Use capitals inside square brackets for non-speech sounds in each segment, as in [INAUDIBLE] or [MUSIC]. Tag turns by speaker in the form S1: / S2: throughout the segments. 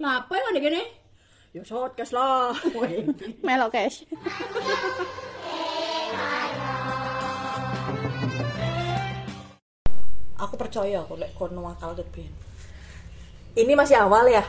S1: Lah apa yang ada gini? Ya shortcast
S2: [LAUGHS]
S1: lah.
S3: Melo Cash.
S2: aku percaya kok lek kon nakal ket ben. Ini masih awal ya.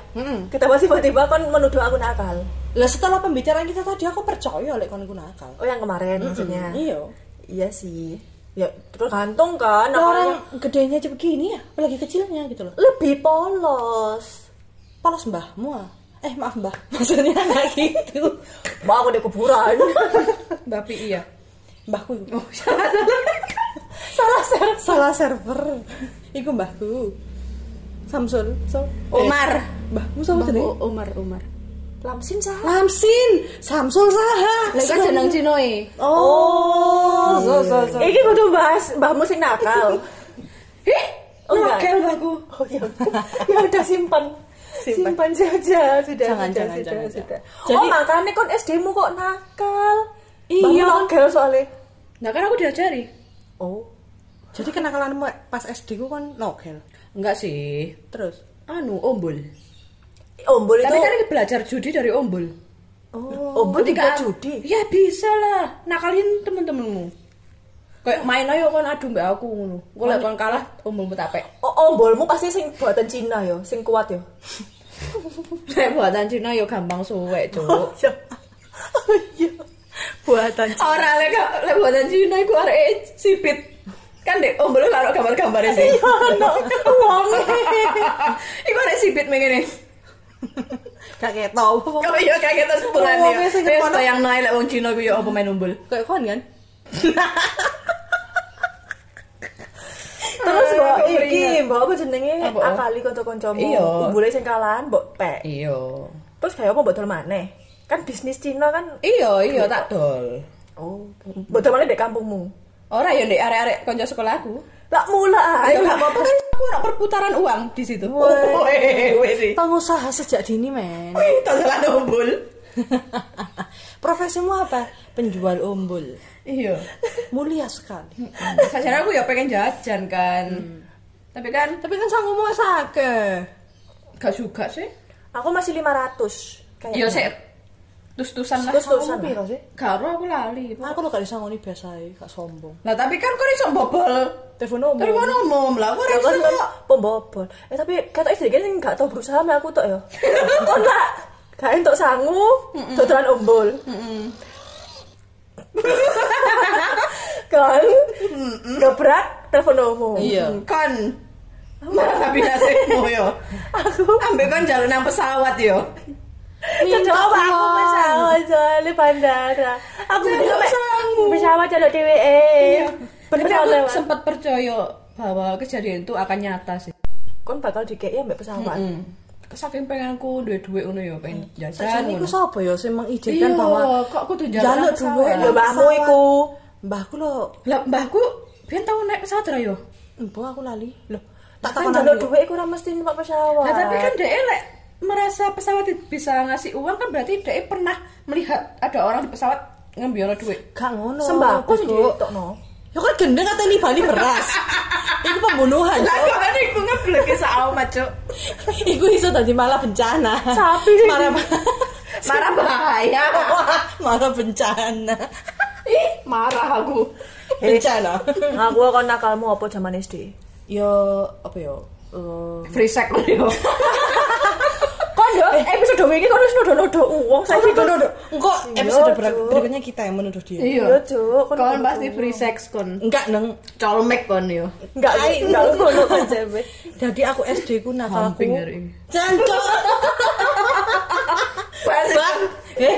S2: Kenapa sih tiba-tiba kon menuduh aku nakal?
S4: Lah setelah pembicaraan kita tadi aku percaya lek kon iku nakal.
S2: Oh yang kemarin maksudnya.
S4: Iya.
S2: Iya sih. Ya tergantung kan
S4: Lah Ya orang
S2: namanya.
S4: gedenya aja begini ya, apalagi kecilnya gitu loh.
S2: lebih polos.
S4: Polos mbahmu ah. Eh maaf mbah, [LAUGHS] maksudnya nggak gitu.
S2: Mau aku di
S4: [LAUGHS]
S2: kuburan.
S4: Mbak Pi iya. Mbahku itu. salah server. Salah server. Iku mbahku. Samsul. So.
S3: Umar.
S4: Eh, mbahmu sama jenenge?
S3: Umar Umar.
S2: Lamsin sah.
S4: Lamsin. Samsul saha.
S3: Lek kan jeneng Cino e.
S4: Oh. So so so.
S2: Iki kudu bahas mbahmu sing nakal.
S4: Ih,
S2: Oh, enggak.
S4: nakal aku.
S2: Oh ya. udah. ya udah simpan.
S4: Simpan.
S2: Simpan saja sudah
S4: Jangan,
S2: sudah,
S4: jangan,
S2: sudah,
S4: jangan,
S2: sudah.
S4: jangan.
S2: Oh
S4: Jadi-
S2: makanya kon SD-mu kok nakal.
S4: Iya.
S2: Mbahmu nakal soalnya.
S1: Nah kan aku diajari.
S2: Oh.
S4: Jadi kenakalanmu pas SD ku kan nokel.
S1: Enggak sih.
S4: Terus.
S1: Anu ombul.
S2: Ombol itu.
S1: Tapi kan aku belajar judi dari ombul.
S2: Oh, ombol juga judi.
S1: Ya bisa lah. Nakalin temen-temenmu. Kayak main ayo kon adu mbak aku ngono. Engko lek Ya. kon kalah ombulmu tapek.
S2: Oh, ombolmu pasti sing buatan Cina yo, sing kuat yo.
S1: [LAUGHS] Lek buatan Cina yo gampang
S2: [LAUGHS]
S1: suwek, Cuk.
S2: Oh iya. [LAUGHS] Buatan
S1: Ora lek lek buatan Cina iku arek sipit. Kan dek ombel karo gambar-gambare e sih. [LAUGHS]
S2: Cina.
S1: Wong. Iku arek sipit mengene.
S4: [LAUGHS] Gak kayak tau
S1: Kok iya kaget terus sepurane.
S4: Wong sing
S1: Wis
S4: kepono.
S1: bayang nae lek wong Cina ku yo apa main ombel.
S4: Kayak kon kan?
S2: Terus mbok
S1: Ah, kok
S2: iki,
S1: keringat.
S2: mbok apa jenenge?
S1: Apa?
S2: Akali kanca-kancamu.
S1: Iya.
S2: Ombole sing kalahan mbok pek.
S1: Iya.
S2: Terus kayak apa mbok dol maneh? Kan bisnis Cina kan.
S1: Iya, iya tak dol.
S2: Oh, mbok dol maneh di kampungmu.
S1: Ora yo ndek arek-arek kanca sekolahku.
S2: Lah mula
S1: Ayo
S2: ayo
S1: gak apa-apa kan aku ora perputaran uang di situ.
S2: Woi.
S1: [LAUGHS] Woi, woi.
S4: Pengusaha sejak dini men. [LAUGHS]
S1: Wih, totalan ombul.
S4: Profesimu apa? Penjual umbul.
S1: Iya.
S4: Mulia sekali.
S1: Sajane aku ya pengen jajan kan. Tapi kan
S4: Tapi kan sang ngomong sake.
S1: gak juga sih.
S2: Aku masih 500 kayak.
S1: Ya sik tus-tusan lah.
S2: Terus terusan.
S4: Kamu piro sih?
S1: Karo aku lali.
S4: Nah, Aku lo gak disangoni biasa ya, gak sombong.
S1: Lah tapi kan kok iso bobol.
S4: Telepon umum.
S1: Terus ono omong lah, kok ora
S2: Ya
S1: iso
S2: kan kan
S1: kok.
S2: pembobol. Eh tapi kata istri kan nggak tahu berusaha sama aku tok ya. [LAUGHS] Kok enggak? Gak entuk sangu, dodolan ombol. [LAUGHS] kan gebrak telepon umum.
S1: Iya. Kan malah tapi nasibmu yo.
S2: Aku
S1: Ambek kan jalan nang pesawat yo.
S2: Minta aku pesawat soalnya bandara. Aku
S1: Jaluk
S2: sampe
S1: sangu.
S2: pesawat jaluk DWE. Bener
S1: Tapi aku
S2: Iya. lewat.
S1: sempat percaya bahwa kejadian itu akan nyata sih.
S2: Kon bakal dikei ambek pesawat.
S1: Hmm. Saking pengenku duit-duit ngono yo pengen jajan.
S4: Sajane iku
S1: ngono.
S4: sapa ya sing mengidekan
S1: Iya,
S4: bahwa
S1: kok kudu jalan
S4: jaluk
S1: nang
S4: duwe
S1: pesawat.
S2: Ya mbahmu iku.
S4: Mbahku lo,
S1: Lah mbahku biyen tau naik pesawat ora yo.
S4: mbah aku lali. Loh,
S2: Tak
S4: tak
S2: kan
S4: takon
S2: jaluk
S4: aku.
S2: duit iku ora mesti numpak pesawat.
S1: Nah, tapi kan dia lek merasa pesawat itu bisa ngasih uang kan berarti dia pernah melihat ada orang di pesawat ngambil duit.
S4: Gak ngono.
S2: sembako sih
S4: Bu.
S2: [LAUGHS] ditokno.
S4: Ya kan gendeng katanya ini Bali [LAUGHS] beras. Iku pembunuhan.
S1: Lah
S4: Cok.
S1: kok kan iku ngeblek ke sama, Cuk.
S4: [LAUGHS] Iku iso tadi malah bencana.
S2: Sapi sih.
S4: [LAUGHS] Marah
S1: Marah bahaya.
S4: marah bencana.
S1: Ih, marah aku.
S2: Eh.
S4: Bencana.
S2: Aku kon nakalmu apa zaman SD?
S4: Yo apa yo? Eh,
S1: Free sex lho yo.
S2: Kon yo episode wingi kon wis nuduh-nuduh uang
S4: Saya
S2: saiki
S4: sih
S2: kon.
S4: dodo. Engko
S2: Iya,
S4: episode
S2: Cuk.
S4: ber- berikutnya kita yang menuduh dia.
S2: Yo,
S1: Iya.
S2: Cuk, kon
S1: Kon
S2: nuduh
S1: pasti
S2: uang.
S1: free sex kon.
S4: Enggak neng.
S1: Colmek kon yo.
S2: Enggak,
S4: Ai.
S2: enggak ngono kon jeme.
S4: Jadi aku SD ku nakalku.
S1: Samping hari ini.
S4: Jancok. Bang. Eh,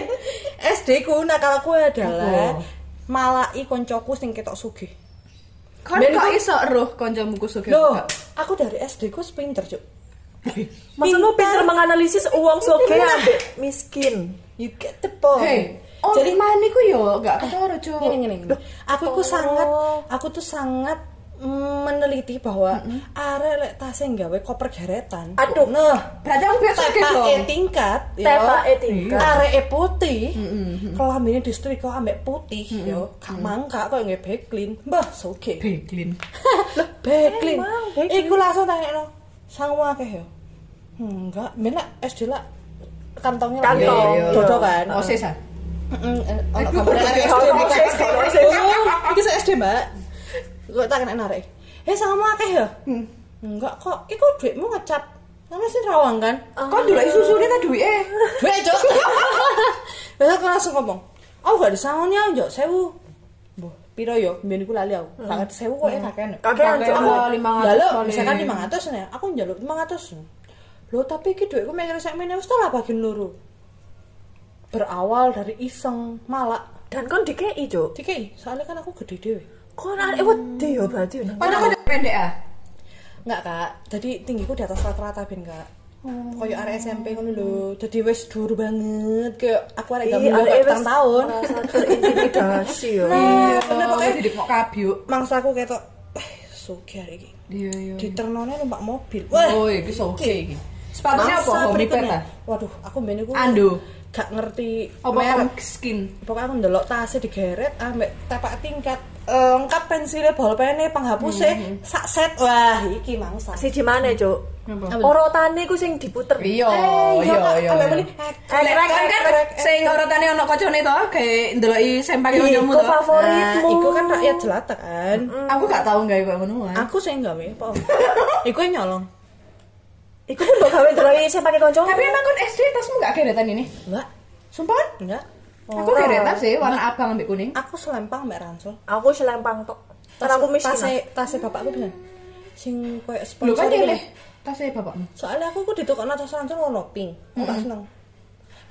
S4: SD ku nakalku adalah malai koncoku sing ketok sugih.
S1: Kon
S4: Ben,
S1: kok
S4: kon-
S1: iso roh kancamu ku sugih.
S4: Loh, aku dari SD ku pinter, Cuk.
S2: Maksudmu pinter menganalisis uang soge ambek miskin.
S4: You get the point.
S1: Hei, oh,
S4: Jadi
S1: jadi mana iku yo gak ketara, Cuk.
S4: gini gini, gini. Aku iku sangat aku tuh sangat mm, meneliti bahwa arek lek tase nggawe koper geretan.
S2: Aduh.
S4: Nah,
S1: Berarti aku biasa sugih
S4: tepake
S1: dong.
S4: tingkat yo.
S2: Tepake tingkat.
S4: Areke putih. Kelamine distriko ambek putih yo. Gak mangka koyo nggih beklin. Mbah, soge.
S1: Beglin.
S4: Lho, beklin.
S2: Emang, beklin.
S4: Iku langsung tanya no. Sang akeh yo. Hmm, enggak, benak SD lah kantongnya
S2: Kantong.
S4: lagi.
S2: Iya, iya.
S4: Dodo kan. eh,
S1: Osis ah.
S4: Heeh,
S2: Aduh,
S4: SD
S2: dodo,
S4: bukan
S2: dodo, dodo, dodo.
S4: Oh, Iki se SD, Mbak. Gue tak kena narik. Eh, sama akeh ya?
S1: Hmm.
S4: Enggak kok, iku duitmu ngecap. Nama sih rawang kan?
S1: Ah. Kok dulu susune ta duwike?
S4: Gue [LAUGHS] cok. Terus aku langsung ngomong, "Aku gak disangone aku njok 1000." Mbah, piro yo? Mbiyen iku lali aku. Tak ngerti 1000 kok ya kakean.
S2: Kakean, Cok.
S4: Aku
S1: Hmm. Oh, 500
S4: njaluk,
S1: kali.
S4: misalkan 500 nih, aku njaluk 500. Loh, tapi iki dhuwitku mek ngene sak meneh wis tak lah bagiin loro. Berawal dari iseng, malak.
S2: Dan kon dikei, Cuk.
S4: Dikei, soalnya kan aku gede dhewe.
S2: Kon arek wedi yo berarti.
S1: Padahal kok udah pendek ah.
S4: Enggak, Kak. Jadi tinggiku di atas rata-rata ben, Kak. Koyo arek SMP ngono lho. Jadi wes dur banget kayak aku arek gak
S2: Iya, arek
S4: mulai
S2: wis
S4: tahun. [LAUGHS]
S2: merasa terintimidasi yo.
S4: Iya,
S1: Bener
S4: bener pokoknya
S1: didik kok kabyuk.
S4: mangsa aku ketok eh sugih hari iki.
S1: Iya iya.
S4: Diternone numpak mobil.
S1: Oh, iki soke iki. Sepatunya apa?
S4: Mangsa
S1: Homey
S4: berikutnya.
S1: Pet ah.
S4: Waduh, aku mbene iku
S1: Ando.
S4: gak ngerti
S1: Apa
S4: merek.
S1: merek skin?
S4: Pokoknya aku ndelok tasnya digeret ambek tapak tingkat eh, lengkap pensilnya bolpennya penghapusnya sak set wah iki mangsa
S2: Siji mana, Cuk?
S1: Apa?
S2: Orotane ku sing diputer.
S1: Iya,
S4: Eh,
S1: iya,
S4: Kak.
S1: iya.
S4: Ambek
S1: iya.
S4: muni,
S1: Kan
S4: eh,
S1: kan
S4: eh,
S1: kan
S4: eh, eh.
S1: sing urutane ono kocone to, kayak ndeloki sempake
S4: Iya,
S2: Iku
S1: kancamu to.
S2: favorit. favoritmu.
S4: Nah, iku kan rakyat jelata kan.
S1: Aku gak tau gawe koyo ngono ah. wae.
S4: Aku sih enggak apa. [LAUGHS] Iku yang nyolong.
S2: Iku pun mbok gawe doi sing pakai kanca.
S1: Tapi emang kon SD tasmu gak geretan ini?
S4: Enggak,
S1: Sumpah? kan?
S4: enggak.
S1: Aku geretan sih warna abang ambek kuning.
S4: Aku selempang mbak Ransel.
S2: aku selempang tok. Karena aku miskin.
S4: Tasnya tasnya bapakku bener. Sing koyo sponsor.
S1: Lu kan
S4: gitu.
S1: dele tasnya bapakmu.
S4: Soalnya aku ku ditukokno tas Ransel warna pink. Aku gak seneng.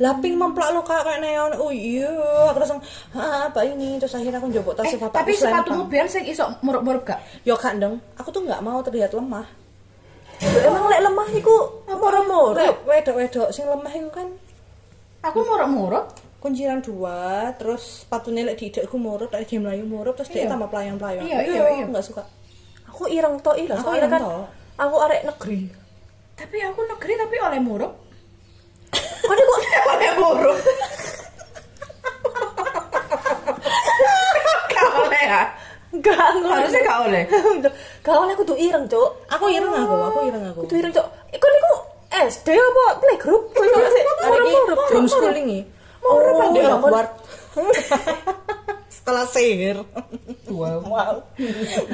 S4: Lah pink memplak lo kak kayak neon. Oh iya, aku langsung ah apa ini terus akhirnya aku njobok
S1: Eh,
S4: tasnya bapakku
S1: tapi sepatumu
S4: selempang.
S1: biar sing iso murup-murup gak?
S4: Yo Kak, Ndeng, aku tuh nggak mau terlihat lemah.
S2: Emang lek lemah iku moro-moro.
S4: Lek Wedok-wedok sing lemah itu kan
S1: Aku murup-murup.
S4: kunciran dua terus sepatu nelek di idekku murup lek dia melayu murup terus dia
S1: Iya.
S4: tambah pelayan pelayan
S1: Iya, iya, iya.
S4: nggak suka
S2: Aku ireng tok iki lho,
S4: Aku
S2: soalnya
S4: ireng
S2: kan
S4: tok.
S2: aku arek negeri.
S1: Tapi aku negeri tapi oleh murup.
S2: Kon iku
S1: [LAUGHS] oleh murup. [LAUGHS] Gak oleh ya?
S2: enggak
S1: Harusnya gak oleh.
S2: Gak oleh kudu ireng, Cuk.
S4: aku ireng aku aku ireng aku
S2: Kudu ireng, Cuk. Iku niku SD apa playgroup? Koyo sik
S4: hari ini
S2: moro-moro.
S4: homeschooling ya
S2: Moro, Pak.
S4: oh,
S2: Ya ampun.
S4: [LAUGHS] Hogwarts sekolah sihir [LAUGHS]
S1: Wow.
S4: wow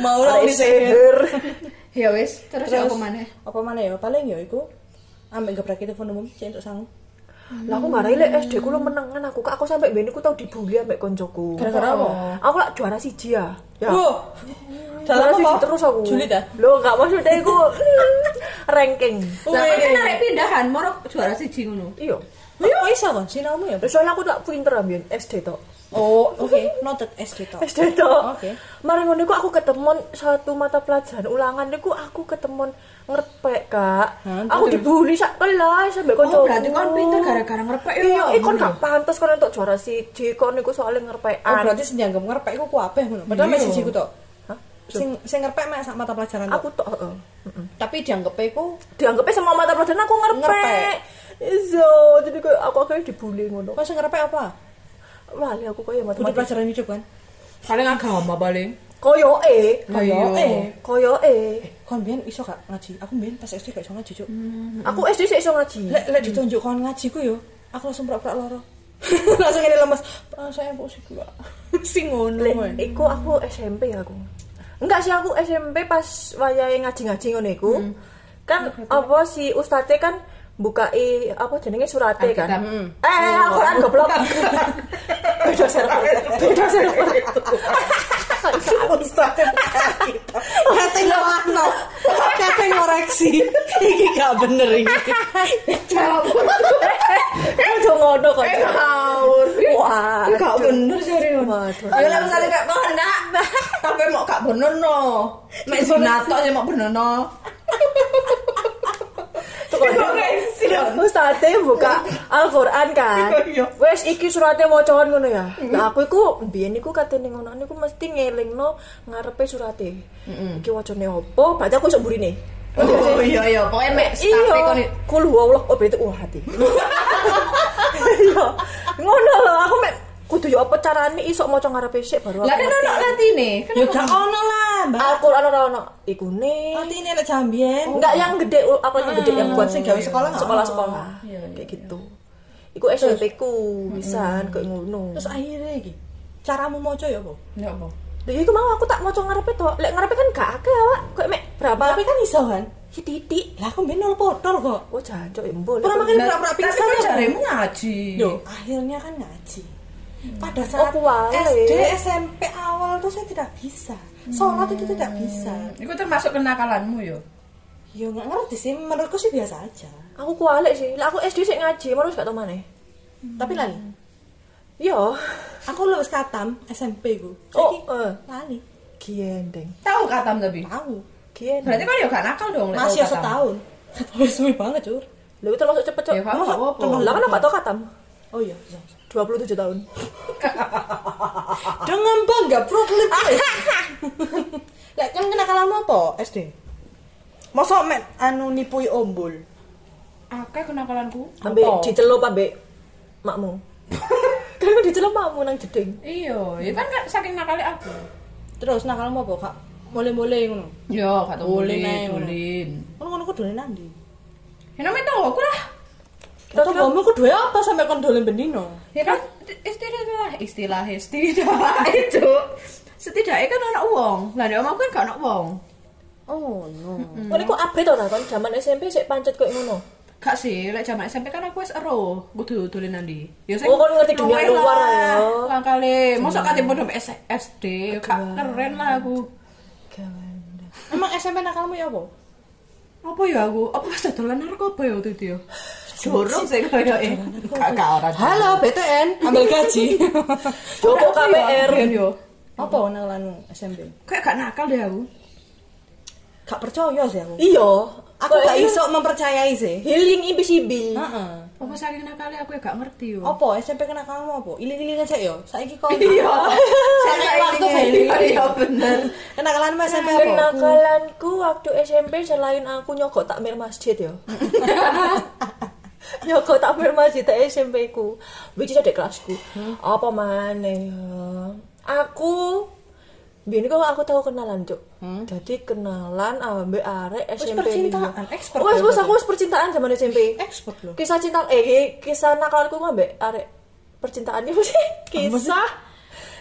S4: mau lah
S2: Arek
S4: di sihir
S1: Ya wis, terus ya aku mana?
S4: apa mana ya paling ya iku ambek gebrak telepon umum cek untuk sangu
S2: [LAUGHS] Lah aku ngarai lek SD ku lu menengan aku Kak, aku sampe ben iku tau dibully ambek koncoku.
S4: Gara-gara apa?
S2: Aku lak juara siji ya. Ya.
S4: Wah,
S2: Juara
S4: dalam
S2: siji
S4: apa
S2: terus aku.
S4: julid ya
S2: Lho, enggak maksudnya iku [LAUGHS] ranking.
S1: Lah kan kan arek pindahan, moro juara siji ngono.
S2: Iya.
S4: Iya, bisa kan? Sinaumu ya?
S2: Terus soalnya aku tak pinter ambien SD tok.
S4: Oh, oke. Noted gitu. SD tok.
S2: SD tok.
S4: Oke.
S2: Mari ngono iku aku ketemon satu mata pelajaran ulangan niku aku ketemon ngerpek, Kak.
S4: Hah,
S2: aku dibully sak kelas sampe kancaku.
S1: Oh, berarti kon pinter gara-gara ngrepek ya.
S2: Iya, eh, kon gak pantas kon untuk juara siji, kon niku soalnya
S4: Oh,
S2: ngerpekan.
S4: berarti senjanggem ngerpek iku kuapeh ngono. Padahal
S1: Iya.
S4: mek siji ku tok.
S2: Hah?
S4: Sing sing ngerpek mek sak mata pelajaran tok.
S2: Aku tok, heeh. Mm-mm.
S4: Tapi dianggep iku
S2: Dianggapnya semua mata pelajaran aku ngerpek.
S4: Ngerpek.
S2: Iya, jadi kayak aku akhirnya dibully ngono.
S4: kok sing ngerpek apa?
S2: Wali aku ya kayak
S4: Budi
S2: matematika.
S4: pelajaran hidup kan.
S1: Paling agama paling.
S2: Koyo e,
S1: Iya.
S2: koyo e.
S4: Kon biyen iso gak ngaji? Aku biyen pas SD gak iso ngaji, Cuk.
S2: Aku SD sih iso ngaji.
S4: Lek lek ditunjuk kon ngaji ku yo, aku langsung prak-prak loro. [LAUGHS] langsung ini lemes. Ah, saya mbok sik gak. Sing ngono.
S2: Lek,
S4: woy.
S2: iku aku SMP aku. Enggak sih aku SMP pas wayahe ngaji-ngaji ngono iku.
S1: Hmm.
S2: Kan apa si ustate kan bukai apa jenenge surate kan.
S1: Alkitab.
S2: Eh, Al-Qur'an goblok. [LAUGHS] Beda server. Beda server.
S4: Ustaz kate [LAUGHS] ngono kate ngoreksi [LAUGHS] iki gak bener iki
S1: Jawab.
S2: Eh, Udah ngono kok.
S1: Ngawur.
S2: Wah.
S1: Ih, Iya. gak bener serius.
S2: Waduh.
S1: Ayo lah misalnya kayak kau enggak. Tapi mau gak bener no. Mek sinato sih mau bener no.
S2: Ustate buka Al-Qur'an kan.
S1: Iya. Hmm.
S2: Wes iki surate wacan ngono ya. Nah aku iku mbiyen iku katene ngono niku mesti ngelingno ngarepe surate. Iki wacane opo? Berarti aku iso mburine.
S1: Hmm. Oh iya iya, pokoknya mek tapi kon
S2: Iya, kul Allah, oh berarti wah hati. Iya, ngono lho aku mek kudu yo apa carane iso maca ngarepe sik baru.
S1: Lah
S2: aku
S1: kan
S2: ngerti.
S1: ono latine.
S4: yo gak ono lah Mbak. Oh,
S2: Al-Qur'an ora ono ikune.
S4: Atine nek jambien.
S2: Enggak yang gede, ul- apa yang gede yang buat
S4: sing gawe Ah, sekolah nggak
S2: sekolah
S4: ono.
S2: sekolah.
S4: Iya, iya,
S2: Kayak gitu. Iku SMP ku pisan koyo ngono.
S4: Terus ah. akhirnya iki. Caramu moco ya, Bu?
S1: Ya apa?
S2: Lha iku mau aku tak maca ngarepe to. Lek ngarepe kan gak akeh awak. Koyo mek berapa?
S4: Tapi kan iso kan.
S2: Hi, titik.
S4: Lah aku mbien nol botol kok.
S2: Oh jancuk ya mbok.
S4: Pernah makan
S1: Nah,
S4: pura-pura
S1: tapi
S4: pingsan
S1: kan
S4: ya, Bu?
S1: jaremu ngaji.
S4: Yo, akhirnya kan ngaji. Pada saat
S2: Oh, kuwae.
S4: SD, SMP awal tuh saya tidak bisa. Sholat itu tidak bisa.
S1: Iku termasuk kenakalanmu yo.
S4: Yo nggak ngerti sih. Menurutku sih biasa aja.
S2: Aku kualek sih. Lah aku SD sik ngaji, malah wis gak tau maneh.
S4: Tapi lali.
S2: Yo,
S4: Aku lulus katam SMP ku.
S2: Oh,
S4: Saiki
S2: eh.
S4: lali.
S2: giendeng.
S1: Tahu katam tapi.
S4: Tahu.
S2: Giendeng.
S1: Berarti kan yo gak nakal dong lek
S4: Masih ya
S1: tahu katam.
S4: setahun. [LAUGHS] Tapi suwe banget, Cur.
S2: Lha itu termasuk cepet, Cok.
S1: Ya, Pak, gak apa-apa.
S2: Lah kan aku gak tau katam.
S4: Oh iya.
S2: 27 tahun.
S4: Dengan bangga perut lipis. [LAUGHS] Lek kan kenakalanmu apa SD? Mosok men anu nipui ombul.
S1: Akeh kenakalanku.
S2: Ambek
S4: Apa?
S2: dicelup ambek makmu.
S1: [LAUGHS]
S2: kan aku dicelup makmu nang jeding.
S1: Iya, ya kan kan saking nakale aku.
S4: Terus nakalmu apa, Kak? Mole-mole ngono.
S1: Yo, kata
S4: Ulin ae, ulin.
S1: ulin, ulin.
S4: Ngono-ngono ku dolen nang ndi?
S1: Ya namanya tahu aku lah.
S4: Atau kamu ku duwe apa sampe kon dolen bendino?
S1: Ya kan istilah istilah
S2: [LAUGHS]
S1: istilah itu. Setidaknya kan anak uang. Lah nek omahku kan gak anak uang.
S4: Oh, no.
S2: Hmm. Kan iku update ora kan zaman SMP sik pancet koyo ngono.
S1: Gak sih, lek jaman SMP kan aku wis ero, kudu dolen ndi. Ya
S2: Oh, kan ngerti dunia luar ya.
S1: Lah kali, mosok kate podo S- SD, gak keren lah aku.
S4: [LAUGHS] Emang SMP nakalmu ya apa?
S1: Apa ya aku? Apa wis dolan narkoba ya waktu itu ya? Jorong sih koyoke. Gak gak ora.
S4: Halo BTN, ambil gaji.
S2: Jopo KPR.
S1: Ben ya? yo.
S4: [LAUGHS] apa nakalanmu SMP?
S1: Kayak gak nakal deh aku.
S4: Gak percaya sih aku.
S2: Iya,
S4: Aku
S2: Koyo
S4: gak
S2: iku
S4: iso mempercayai sih.
S2: healing invisible.
S4: Heeh.
S1: Apa saking nakalnya aku ya gak ngerti
S2: Oh.
S1: yo.
S4: Apa SMP nakalmu apa? Iling-iling aja ya. Saiki kok.
S1: Iya.
S4: Sampai waktu
S1: Iya, Iya
S4: [LAUGHS]
S1: bener.
S4: Kenakalanmu SMP apa?
S2: Kenakalanku waktu SMP selain aku nyogok takmir masjid
S4: [LAUGHS]
S2: ya. nyogok takmir masjid tak SMP ku. Which is ada kelasku. Apa mana ya? Aku Biar kok aku tahu kenalan, Cuk. Jadi kenalan ambek arek SMP.
S4: Hmm? percintaan,
S2: lima.
S4: expert
S2: Wes wes
S4: ya, berarti.
S2: aku wis percintaan zaman SMP.
S4: Expert loh.
S2: Kisah cinta eh kisah nakalanku ku ambek arek percintaannya [LAUGHS] sih. Kisah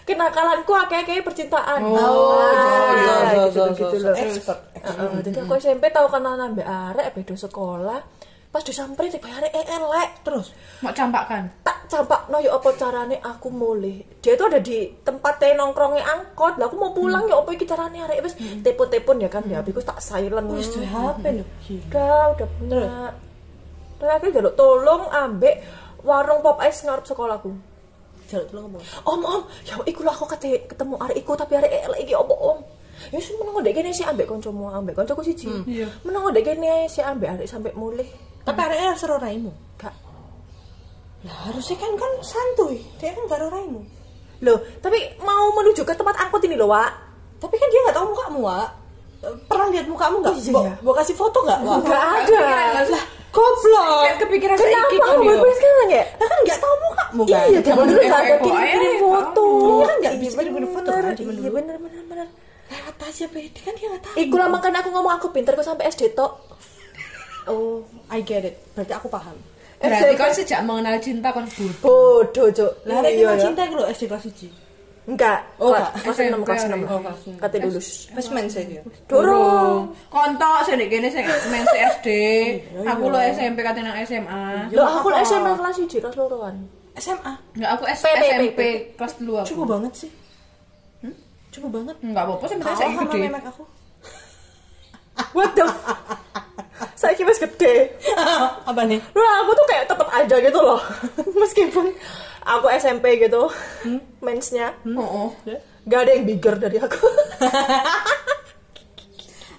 S2: kenakalanku akeh-akeh percintaan.
S4: Oh, iya,
S2: Ah,
S4: iya,
S2: gitu,
S4: iya,
S2: gitu loh.
S4: iya, iya. Expert.
S2: Heeh, Jadi aku SMP tahu kenalan kan ambek arek bedo sekolah. Pas disamperin tiba arek eh elek terus
S1: Mau campakan.
S2: tak campak no ya apa carane aku mulih dia tuh ada di tempat teh nongkrongnya angkot lah aku mau pulang ya apa iki carane arek wis telepon-telepon ya kan ya aku tak silent
S4: Wis duwe HP lho.
S2: udah udah punya terus aku jaluk tolong ambek warung pop ice ngarep sekolahku
S4: Jaluk tolong ngomong.
S2: om om ya iku lah aku kate ketemu arek iku tapi arek elek iki opo om ya sih menengok dek kene sih ambek kancamu ambek kancaku siji
S4: Hmm.
S1: Iya.
S2: menengok dek kene sih ambek arek sampe mulih
S4: Tapi arek seru raimu.
S2: gak
S4: Lah harusnya kan kan santuy. Dia kan gak raimu.
S2: loh tapi mau menuju ke tempat angkot ini loh wak
S4: Tapi kan dia gak tahu mukamu, Wak. Pernah lihat mukamu gak?
S2: Oh, iya,
S4: Mbok-
S2: iya.
S4: mbok kasih foto gak, Wak?
S2: Gak
S1: Kepikiran
S2: ada.
S1: gak? Lah,
S4: Goblok.
S1: kepikiran kan saya
S2: Oh. Kenapa
S1: iki
S2: aku berpikir sekarang ya?
S4: Lah kan gak tahu mukamu kan?
S2: Iya, zaman dulu
S1: Eh,
S2: gak ada
S1: eh,
S2: kirim-kirim
S1: eh,
S2: foto.
S4: Iya kan nggak bisa kirim-kirim foto kan
S2: bener.
S4: zaman
S2: Iya
S4: dulu.
S2: bener bener bener.
S4: Lewat aja PD kan dia gak tahu.
S2: Iku lah makanya aku ngomong aku pinter, aku sampai SD tok.
S4: Oh, I get it. Berarti aku paham.
S2: SMP.
S1: Berarti kan sejak mengenal cinta kan bodoh.
S2: Bodoh cok.
S4: Lah
S1: Iya,
S4: arek
S2: Iya,
S4: iki cinta iku lho SD kelas 1.
S2: Enggak.
S4: Oh,
S2: kelas-
S4: nggak.
S2: Kelas
S1: SMP,
S2: 6 kelas 6.
S1: oh, kelas
S2: Kata lulus.
S4: Wis men saya.
S2: Dorong.
S1: Kontok sih nek kene sing main
S2: Oh,
S1: SD. Aku lo SMP kate nang SMA.
S2: Loh aku lah SMP kelas 1 kelas kan. loroan.
S4: SMA.
S1: Enggak aku S-
S2: P, P, P,
S1: SMP
S2: P.
S1: kelas 2 aku.
S4: Cukup banget sih. Hmm? Cukup banget.
S1: Enggak apa-apa sih
S4: Kau
S1: saya
S4: sama
S1: gede.
S4: memek aku.
S2: [LAUGHS] What the Saya kira gede.
S4: [LAUGHS] Apa nih?
S2: Loh, aku tuh kayak tetap aja gitu loh. [LAUGHS] Meskipun aku SMP gitu. Mensnya.
S1: Heeh.
S2: Gak ada yang bigger dari aku.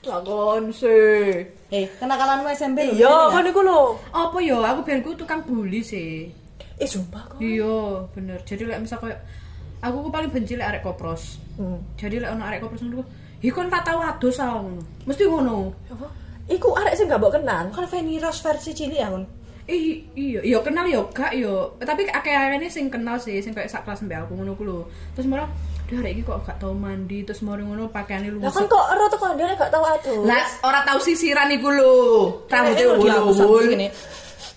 S1: Lakon sih.
S4: Eh, kenakalanmu SMP lho.
S2: [LAUGHS] Iya,
S4: bener
S2: kan
S4: nggak?
S2: iku lho.
S1: Apa yo aku ben ku tukang bully sih.
S2: Eh, sumpah kok.
S1: Iya, bener. Jadi lek misal koyo aku ku paling benci lek arek kopros.
S2: Hmm.
S1: Jadi lek ono arek kopros ngono, "Hi kon tak tau adus ah," ngono. Mesti ngono.
S2: Apa? Iku arek sing gak mbok kenal.
S4: Kan Fanny Rose versi cilik ya, Kun.
S1: Ih, iya, iya kenal ya gak yo. Tapi akeh-akeh sing kenal sih, sing kayak sak kelas mbak aku ngono ku lho. Terus malah Duh, arek iki kok gak tau mandi terus mari ngono pakaiane
S2: Lah kan
S1: lusuh.
S2: kok ero tekan dia gak tahu aduh.
S1: Lah ora tau sisiran iku lho.
S4: Eh,
S1: e Rambutnya wul-wul.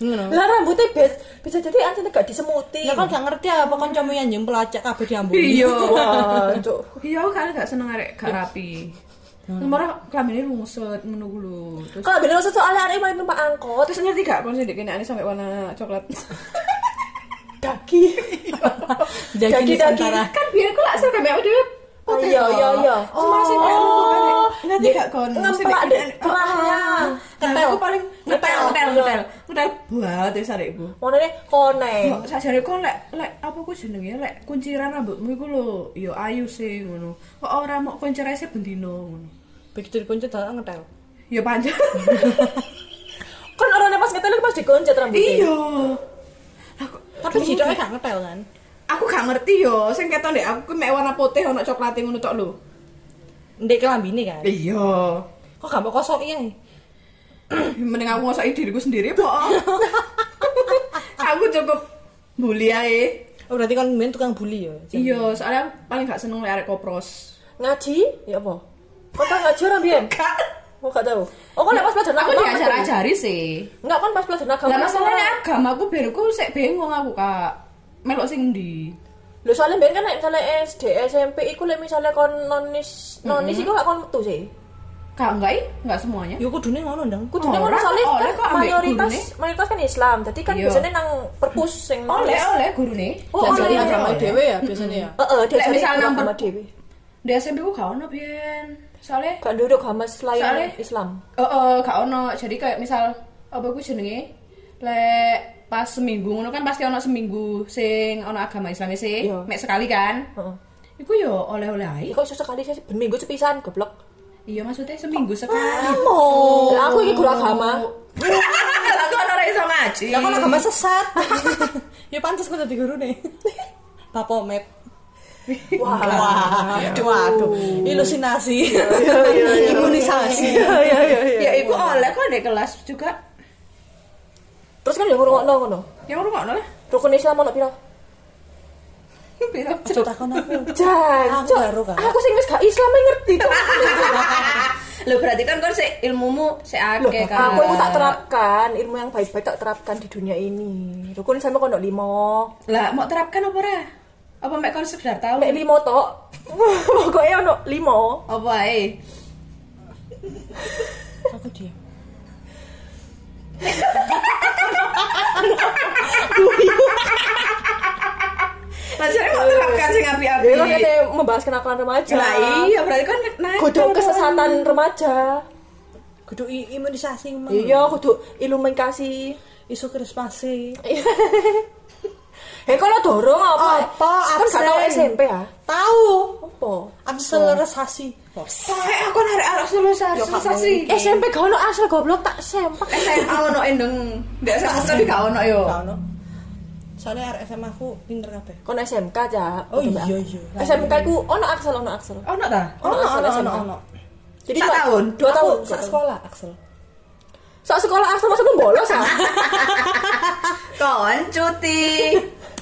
S4: Ngono.
S2: Lah rambutnya be- bisa jadi antene gak disemuti.
S4: Lah kan gak ngerti apa kancamu yang jempol acak kabeh diambuni. [LAUGHS]
S1: Iya.
S2: Wah, cuk.
S1: Iya, aku kalian gak seneng arek gak rapi.
S2: Hmm.
S1: Terus marah kelambine lungset ngono ku lho. Terus
S2: Kalau bener usah soalnya hari main numpak angkot
S1: terus ngerti gak konsep dek kene sampai warna coklat. [LAUGHS]
S2: daki. [LAUGHS]
S4: Daging
S2: Daki-daki.
S4: Nusantara.
S1: kan biar aku lak asal kabeh aku dhewe.
S2: Oh iya iya iya.
S1: Cuma sing kan nanti
S2: dia
S1: gak kon.
S2: ngemplak deh kerahnya.
S1: Ketel Ah, Nah, aku paling Iya. ngetel ngetel
S2: Ngetel.
S1: ngetel. Ngetel buat ya, wis arekku.
S2: Mana nih koneng.
S1: Yo, sajane kon lek lek apa ku jenenge ya? lek kunciran rambutmu iku lho, yo ayu sih ngono. Kok ora mau kunciran sih bendino ngono.
S4: Begitu dikunci dalam ngetel.
S1: Ya panjang.
S2: Kan orangnya pas ngetel pas digoncet rambutnya.
S1: [LAUGHS] iya. Aku
S4: Tapi jidoknya gak ngetel kan.
S1: aku gak ngerti yo, sing keton dek aku ki mek warna putih ono coklat e ngono tok lho.
S4: Ndek kelambine kan.
S1: Iya.
S4: Kok gak mau kosok iya.
S1: Mending aku ngosoki diriku sendiri po.
S2: [LAUGHS]
S1: aku cukup bully ae.
S4: Oh berarti kan main tukang bully ya.
S1: Iya, soalnya aku paling gak seneng lek arek kopros.
S2: Ngaji? Ya apa? Kok tak ngaji orang biyen?
S1: Kak,
S2: Kok gak tahu. Oh kan pas pelajaran
S1: aku
S2: agama. Oh,
S1: diajar-ajari sih.
S2: Enggak kan pas pelajaran agama.
S1: Lah masalahnya agama aku biar aku sek bengong aku kak. Melok sing ndi?
S2: Lho soalnya biyen kan nek misalnya SD, SMP iku lek misalnya kon nonis, nonis iku gak kon metu sih.
S1: Kak enggak ih, enggak semuanya.
S4: Ya kudune ngono ndang.
S2: Kudune
S1: Oh, Ora,
S2: ngono soalnya
S1: kok oleh
S2: kan
S1: kok ambek
S2: mayoritas
S1: gurune?
S2: mayoritas kan Islam. Jadi kan
S1: Iya.
S2: biasanya nang perpus sing
S1: Oleh
S2: nonis.
S1: oleh gurune.
S2: Oh,
S1: Jajal
S2: oleh,
S1: agama
S2: oleh.
S1: dhewe.
S4: ya biasanya ya.
S2: Heeh, dia
S1: Lek
S2: jadi
S1: misal nang
S2: agama
S1: perpu-
S2: dhewe.
S1: Di SMP ku gak ono biyen. Soalnya
S2: Gak duduk agama
S1: Soalnya-
S2: selain Islam.
S1: Eh, eh, gak ono. Jadi kayak misal apa ku jenenge? Lek pas seminggu ngono kan pasti ono seminggu sing ono agama Islam ya, sih.
S2: Iya.
S1: Mek sekali kan.
S2: Heeh.
S1: Iku yo oleh-oleh ae.
S2: Ya kok susah kali sih berminggu sepisan goblok.
S1: Iya maksudnya seminggu sekali.
S2: Oh. Lah aku iki guru agama.
S1: [LAUGHS]
S2: Iya.
S1: Lah kok ono ora iso ngaji.
S4: Lah kan agama sesat. ya pantas kok dadi gurune. Bapomet. Wah, waduh, waduh, ilusinasi, imunisasi.
S1: Ya iku oleh kok di kelas juga.
S2: Terus kan dia ngurungokno ngono.
S1: Ya ora ngono lah. [LAUGHS]
S2: Rukun Islam ono pira? [LAUGHS]
S1: Piro?
S4: Cuk takon aku.
S2: Jan,
S4: Aku
S2: Cuk.
S4: baru kan.
S2: Aku sing wis gak Islam yang ngerti Cuk.
S1: Lho berarti kan kon sik ilmumu sik akeh kan.
S2: Aku yang tak terapkan ilmu yang baik-baik tak terapkan di dunia ini. Rukun Islam kono limo.
S1: Lah mau terapkan apa ora? Apa mek kon sekedar tahu?
S2: Mek limo tok. [LAUGHS] Pokoknya ono limo.
S1: Apa eh? ae?
S4: Aku diam.
S1: Lah jare mau terapkan sing api-api.
S2: Ya kan kita membahas kenakalan remaja.
S1: Lah iya berarti kon naik.
S2: Kudu kesesatan remaja.
S4: Kudu i- imunisasi emang.
S2: Iya, kudu iluminasi.
S4: Isu krispasi.
S2: [LAUGHS] Hei, kalau Eh, dorong apa?
S4: Apa?
S2: Kan gak tau
S4: Absen.
S2: SMP ya?
S4: Tahu.
S2: Apa?
S4: Akselerasi.
S1: Pokoke Eh, aku narik arek
S4: Ya,
S1: sosialisasi.
S2: SMP gak ono asal goblok tak sempak.
S1: SMA ono endeng. Ndak sama tapi gak ono yo.
S4: Tahu Soalnya RSM aku pinter kabeh.
S2: Kon SMK aja.
S4: Oh, iya, iya.
S2: SMK ku ono aksel ono aksel.
S1: Ono ta?
S2: Ono, ono, ono, ono. Jadi
S1: Sak
S2: dua-
S1: tahun?
S2: dua tahun.
S4: Aku sak sekolah, Axel.
S2: Sak sekolah aksel maksudku bolos
S4: [LAUGHS]
S2: ah.
S1: Kon cuti.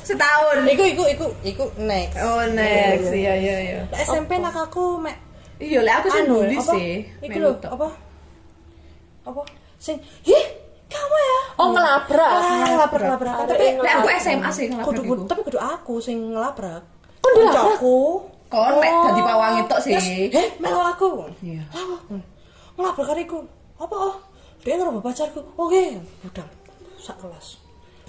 S1: Setahun.
S4: Iku iku iku iku next.
S1: Oh next, iya iya iya.
S4: Lah, SMP nak aku mek
S1: Iya, lah aku sih
S4: anu,
S1: nulis
S4: apa?
S1: sih.
S4: Iku
S1: Melu
S4: lho,
S1: tok.
S4: apa? Apa? Sing, "Ih, kamu ya?"
S2: Oh ngelabrak.
S4: Ah, labrak labrak.
S2: Ada
S4: Tapi
S2: yang
S1: Lah aku SMA sih ngelabrak
S4: kudu
S1: iku.
S4: tapi kudu aku sing ngelabrak.
S2: Kok dilabrak?
S4: Kancaku.
S1: Kon mek dadi pawangi tok
S4: Terus,
S1: sih.
S4: "Heh, melu aku."
S1: Iya.
S4: Lawa. Ngelabrak karo iku. Apa oh? Dia ngerubah pacarku. Oke, udah. Sak kelas.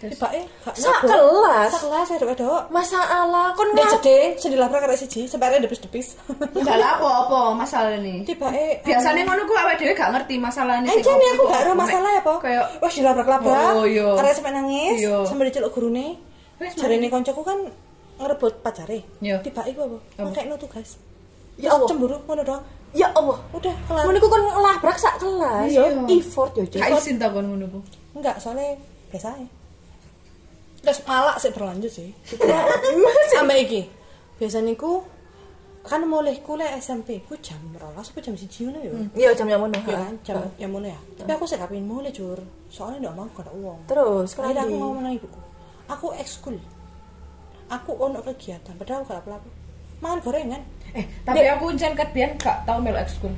S4: Tibake gak
S2: Sak
S4: nyabut.
S2: kelas?
S4: Sak kelas wedok-wedok.
S2: Masalah kon
S4: Nek
S2: ngelabrak.
S4: jeding, sing dilabrak karo siji, sampai ada depis-depis. eh,
S1: Enggak lah apa-apa masalah ini.
S4: Tibake
S1: Ya. Biasanya ngono ku awake dhewe gak ngerti masalahnya sing
S4: Anjir nih
S1: apa.
S4: Eh, ya, aku gak ada
S1: Mek-
S4: masalah ya po
S1: Kayak
S4: Wah dilabrak-labrak
S1: Oh, iya.
S4: Karena sampai nangis
S1: Iya.
S4: Sampai diceluk guru nih
S1: Wes,
S4: Jari ini koncoku kan ngerebut pacare
S1: Iya.
S4: Tiba iku apa? Pakai no tugas
S2: Ya Allah.
S4: Cemburu ngono dong
S2: Ya Allah.
S4: Udah kelar
S2: Mun iku kon ngelabrak sak kelas.
S1: Iya.
S2: Effort yo,
S1: gak
S2: Cuk.
S1: izin ta kon ngono ku.
S4: Enggak soalnya biasa aja Terus malah sih berlanjut
S1: [LAUGHS]
S4: sih Sampai iki Biasanya ku Kan mulai ku lek SMP ku jam rolas apa jam siji ngono ya
S2: Iya jam yang ngono.
S4: Ya
S2: ha.
S4: kan jam yang mana ya Tapi aku sih kapin mulai jur Soalnya ndak mau gak ada uang
S2: Terus
S4: Sekarang
S2: kenapa?
S4: aku ngomong nang ibuku. Aku ekskul. Aku ono kegiatan, padahal gak apa-apa. mangan gorengan
S1: Eh, tapi aku ncen ket biyen gak tau melu ekskul.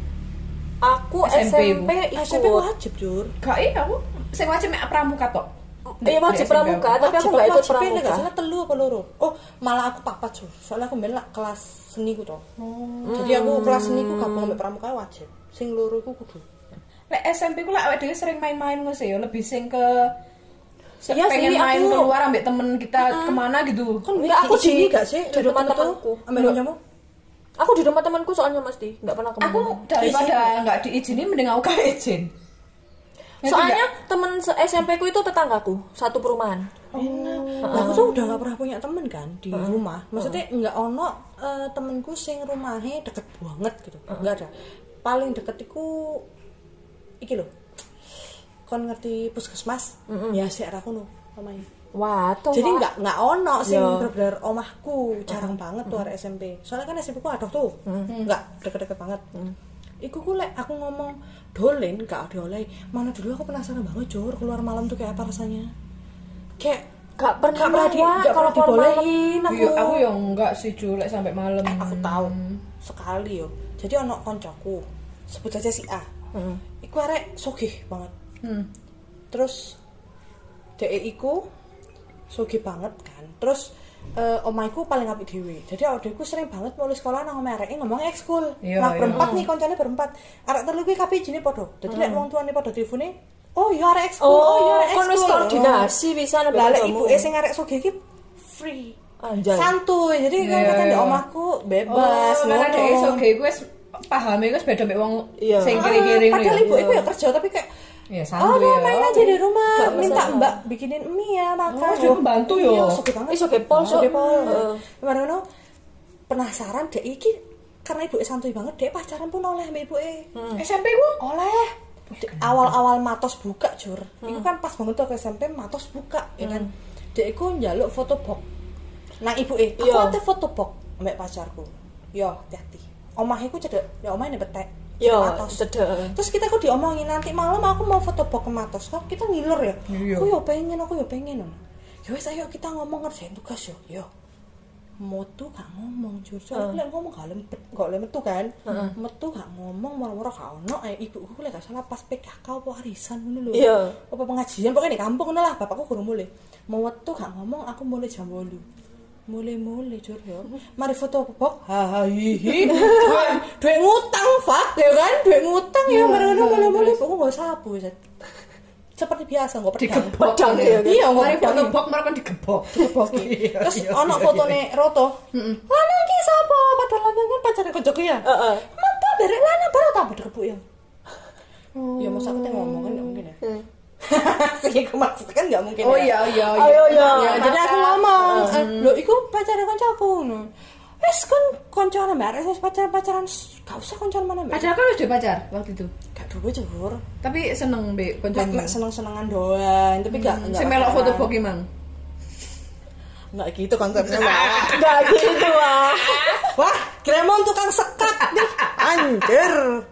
S2: Aku SMP,
S1: SMP.
S2: Eh,
S4: SMP
S2: ikut.
S4: wajib jur
S1: Gak iya aku sing wajib mek pramuka tok.
S2: Iya wajib pramuka, tapi aku nggak ikut
S4: Wajibnya nggak
S2: pramuka.
S4: salah telu apa loro oh malah aku papat jur soalnya aku mbelak kelas seni ku toh
S2: Hmm.
S4: jadi aku kelas seni ku gabung ambek pramuka wajib sing loro ku kudu
S1: Lek SMP ku lek awake dhewe sering main-main ngono sih ya, lebih sing ke se-
S2: Iya sih,
S1: pengen main
S2: aku-
S1: keluar ambek temen kita kemana gitu.
S2: Enggak, aku di-
S4: sini gak sih
S2: di rumah temanku.
S4: ambek
S2: Loh.
S4: kancamu
S2: Aku di rumah temanku soalnya mesti nggak pernah kemana.
S1: Aku daripada nggak diizinin mending aku gak izin. Ngerti
S2: soalnya
S1: nggak?
S2: temen se- SMP ku itu tetanggaku satu perumahan.
S4: Lah, aku tuh udah gak pernah punya temen kan di rumah. Maksudnya nggak ono eh, temenku sing rumahnya deket banget gitu. Nggak ada. Paling deket iku iki loh. Kon ngerti puskesmas? Ya sik aku no omahe.
S2: Wah, tuh.
S4: Jadi
S2: Wak.
S4: nggak nggak ono sing
S2: Ya.
S4: bener-bener omahku, jarang banget tuh arek SMP. Soalnya kan SMP ku adoh tuh. Nggak deket-deket banget. Iku ku lek aku ngomong dolen gak ada oleh. Mana dulu aku penasaran banget jor keluar malam tuh kayak apa rasanya. Kayak
S2: Gak pernah,
S4: Gak pernah di-
S2: Wak,
S4: gak
S2: kalau
S4: pernah dibolehin
S2: malam.
S1: Iya, aku ya enggak sih julek sampai malam.
S4: Oh. Eh, aku tahu sekali yo jadi ono koncoku sebut aja si A iku arek sogih banget
S1: Hmm.
S4: terus DE iku sogih banget kan terus eh, omaiku paling apik dhewe. Jadi adekku sering banget mulai sekolah nang omahe areke ngomong ekskul.
S1: Iya,
S4: nah,
S1: iya.
S4: berempat nih koncone berempat. Arek telu kuwi kabeh jenenge padha. Jadi lek wong tuane padha telepone, "Oh, iya arek ekskul, oh, iya arek
S2: kon
S4: ekskul."
S2: wis koordinasi bisa nabi
S4: Lah lek
S2: ketemu.
S4: ibuke sing arek sugih iki free.
S2: Anjay.
S4: Santuy. Jadi kan
S1: Iya,
S4: kata
S1: iya.
S4: ndek omahku
S1: Oh,
S4: bebas
S1: karena
S4: ngono.
S1: dhek iso ge gue pahame gue beda mek wong
S2: Iya.
S1: sing
S4: Ah,
S1: kiri-kiri ngono
S4: Padahal
S1: ya.
S4: ibu ibu ya kerja tapi kayak
S1: Ya
S4: Oh,
S1: santuy
S4: udah
S1: ya.
S4: main aja di rumah,
S2: Gak
S4: minta
S2: masalah.
S4: mbak bikinin mie ya makan.
S1: Oh, jadi pembantu ya.
S4: Iya, suka banget.
S2: Ih, suka pol,
S4: suka
S2: suka.
S4: pol.
S2: Heeh.
S4: Kemarin ono penasaran dek iki karena ibu santuy banget dek pacaran pun oleh mbak ibu
S1: SMP ku
S4: oleh awal-awal matos buka jur itu
S2: Hmm.
S4: kan pas banget tuh aku SMP matos buka ya kan dia itu njaluk foto box nah ibu eh aku
S2: Iya.
S4: ada foto box mbak pacarku yo hati-hati omah iku cedek ya omah ini betek cedek
S2: Yo,
S4: matos
S2: cedek.
S4: terus kita kok diomongin nanti malam aku mau foto box ke matos kok kita ngiler ya
S1: Iya.
S4: aku yo pengen aku yo pengen yo wes ayo kita ngomong ngerjain tugas yo yo metu gak ngomong jujur soalnya aku lek ngomong gak lempet gak lempet tuh kan metu gak ngomong moro-moro gak ono eh, ibuku lek gak salah pas PKK apa arisan ngono lho
S2: Iya.
S4: apa pengajian pokoknya di kampung ngono lah bapakku kurang mulai metu gak ngomong aku mulai jam 8 mulai-mulai jujur ya mari foto apa bok hahihi duit ngutang fak ya kan duit ngutang ya mari-mari mulai-mulai aku gak sapu Zat. seperti biasa gak pedang
S1: digebok.
S2: Pedang
S1: ya.
S2: ya, kan?
S1: Iya, mari
S4: Mari foto
S1: foto bok malah kan digebok. Iya,
S4: terus
S1: iya,
S4: ono
S1: iya,
S4: fotone Roto lanang iki sapa padahal lanang kan pacare konjoku ya
S2: Heeh.
S4: mantu derek lanang baru tambah dikebuk ya ya masa aku tengok ngomong kan nggak mungkin ya [LAUGHS] sih aku maksud kan nggak mungkin
S1: Oh
S4: ya.
S1: iya iya
S2: Ayo,
S1: iya.
S2: iya.
S4: Ya, jadi aku ngomong eh, lho iku pacare konjoku wes kan koncoan mbak wis pacaran-pacaran gak usah koncoan mana mbak
S1: Padahal kan udah pacar waktu itu.
S4: gak dulu jujur
S1: Tapi seneng be
S4: Mek
S1: kancamu.
S4: seneng-senengan doang, tapi gak gak
S1: Sing melok foto
S4: pacaran.
S1: bok mang.
S4: Gak gitu konsepnya, Mbak.
S2: Gak gitu, Wak.
S4: Wah, Gremon tukang sekat nih. Anjir.